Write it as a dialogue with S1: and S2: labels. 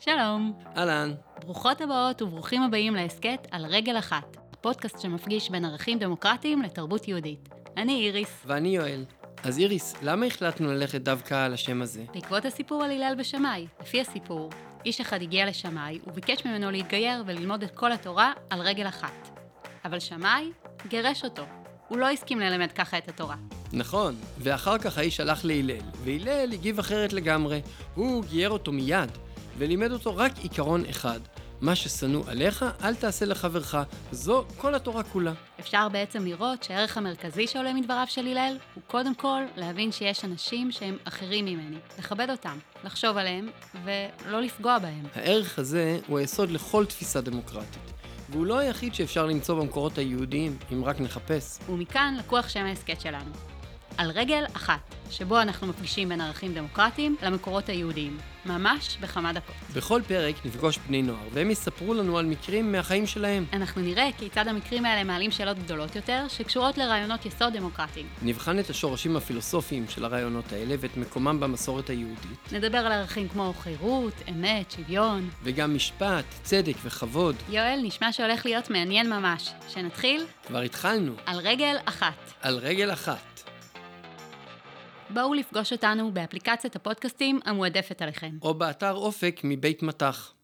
S1: שלום.
S2: אהלן.
S1: ברוכות הבאות וברוכים הבאים להסכת על רגל אחת, הפודקאסט שמפגיש בין ערכים דמוקרטיים לתרבות יהודית. אני איריס.
S2: ואני יואל. אז איריס, למה החלטנו ללכת דווקא על השם הזה?
S1: בעקבות הסיפור על הלל בשמאי, לפי הסיפור, איש אחד הגיע לשמאי וביקש ממנו להתגייר וללמוד את כל התורה על רגל אחת. אבל שמאי גירש אותו. הוא לא הסכים ללמד ככה את התורה.
S2: נכון, ואחר כך האיש הלך להלל, והלל הגיב אחרת לגמרי. הוא גייר אותו מיד, ולימד אותו רק עיקרון אחד. מה ששנוא עליך, אל תעשה לחברך. זו כל התורה כולה.
S1: אפשר בעצם לראות שהערך המרכזי שעולה מדבריו של הלל הוא קודם כל להבין שיש אנשים שהם אחרים ממני, לכבד אותם, לחשוב עליהם ולא לפגוע בהם.
S2: הערך הזה הוא היסוד לכל תפיסה דמוקרטית, והוא לא היחיד שאפשר למצוא במקורות היהודיים, אם רק נחפש.
S1: ומכאן לקוח שם ההסכת שלנו. על רגל אחת, שבו אנחנו מפגישים בין ערכים דמוקרטיים למקורות היהודיים, ממש בכמה דקות.
S2: בכל פרק נפגוש בני נוער, והם יספרו לנו על מקרים מהחיים שלהם.
S1: אנחנו נראה כיצד המקרים האלה מעלים שאלות גדולות יותר, שקשורות לרעיונות יסוד דמוקרטיים.
S2: נבחן את השורשים הפילוסופיים של הרעיונות האלה ואת מקומם במסורת היהודית,
S1: נדבר על ערכים כמו חירות, אמת, שוויון.
S2: וגם משפט, צדק וכבוד.
S1: יואל, נשמע שהולך להיות מעניין ממש. שנתחיל
S2: כבר התחלנו,
S1: על רגל אחת.
S2: על רגל אחת.
S1: בואו לפגוש אותנו באפליקציית הפודקאסטים המועדפת עליכם.
S2: או באתר אופק מבית מטח.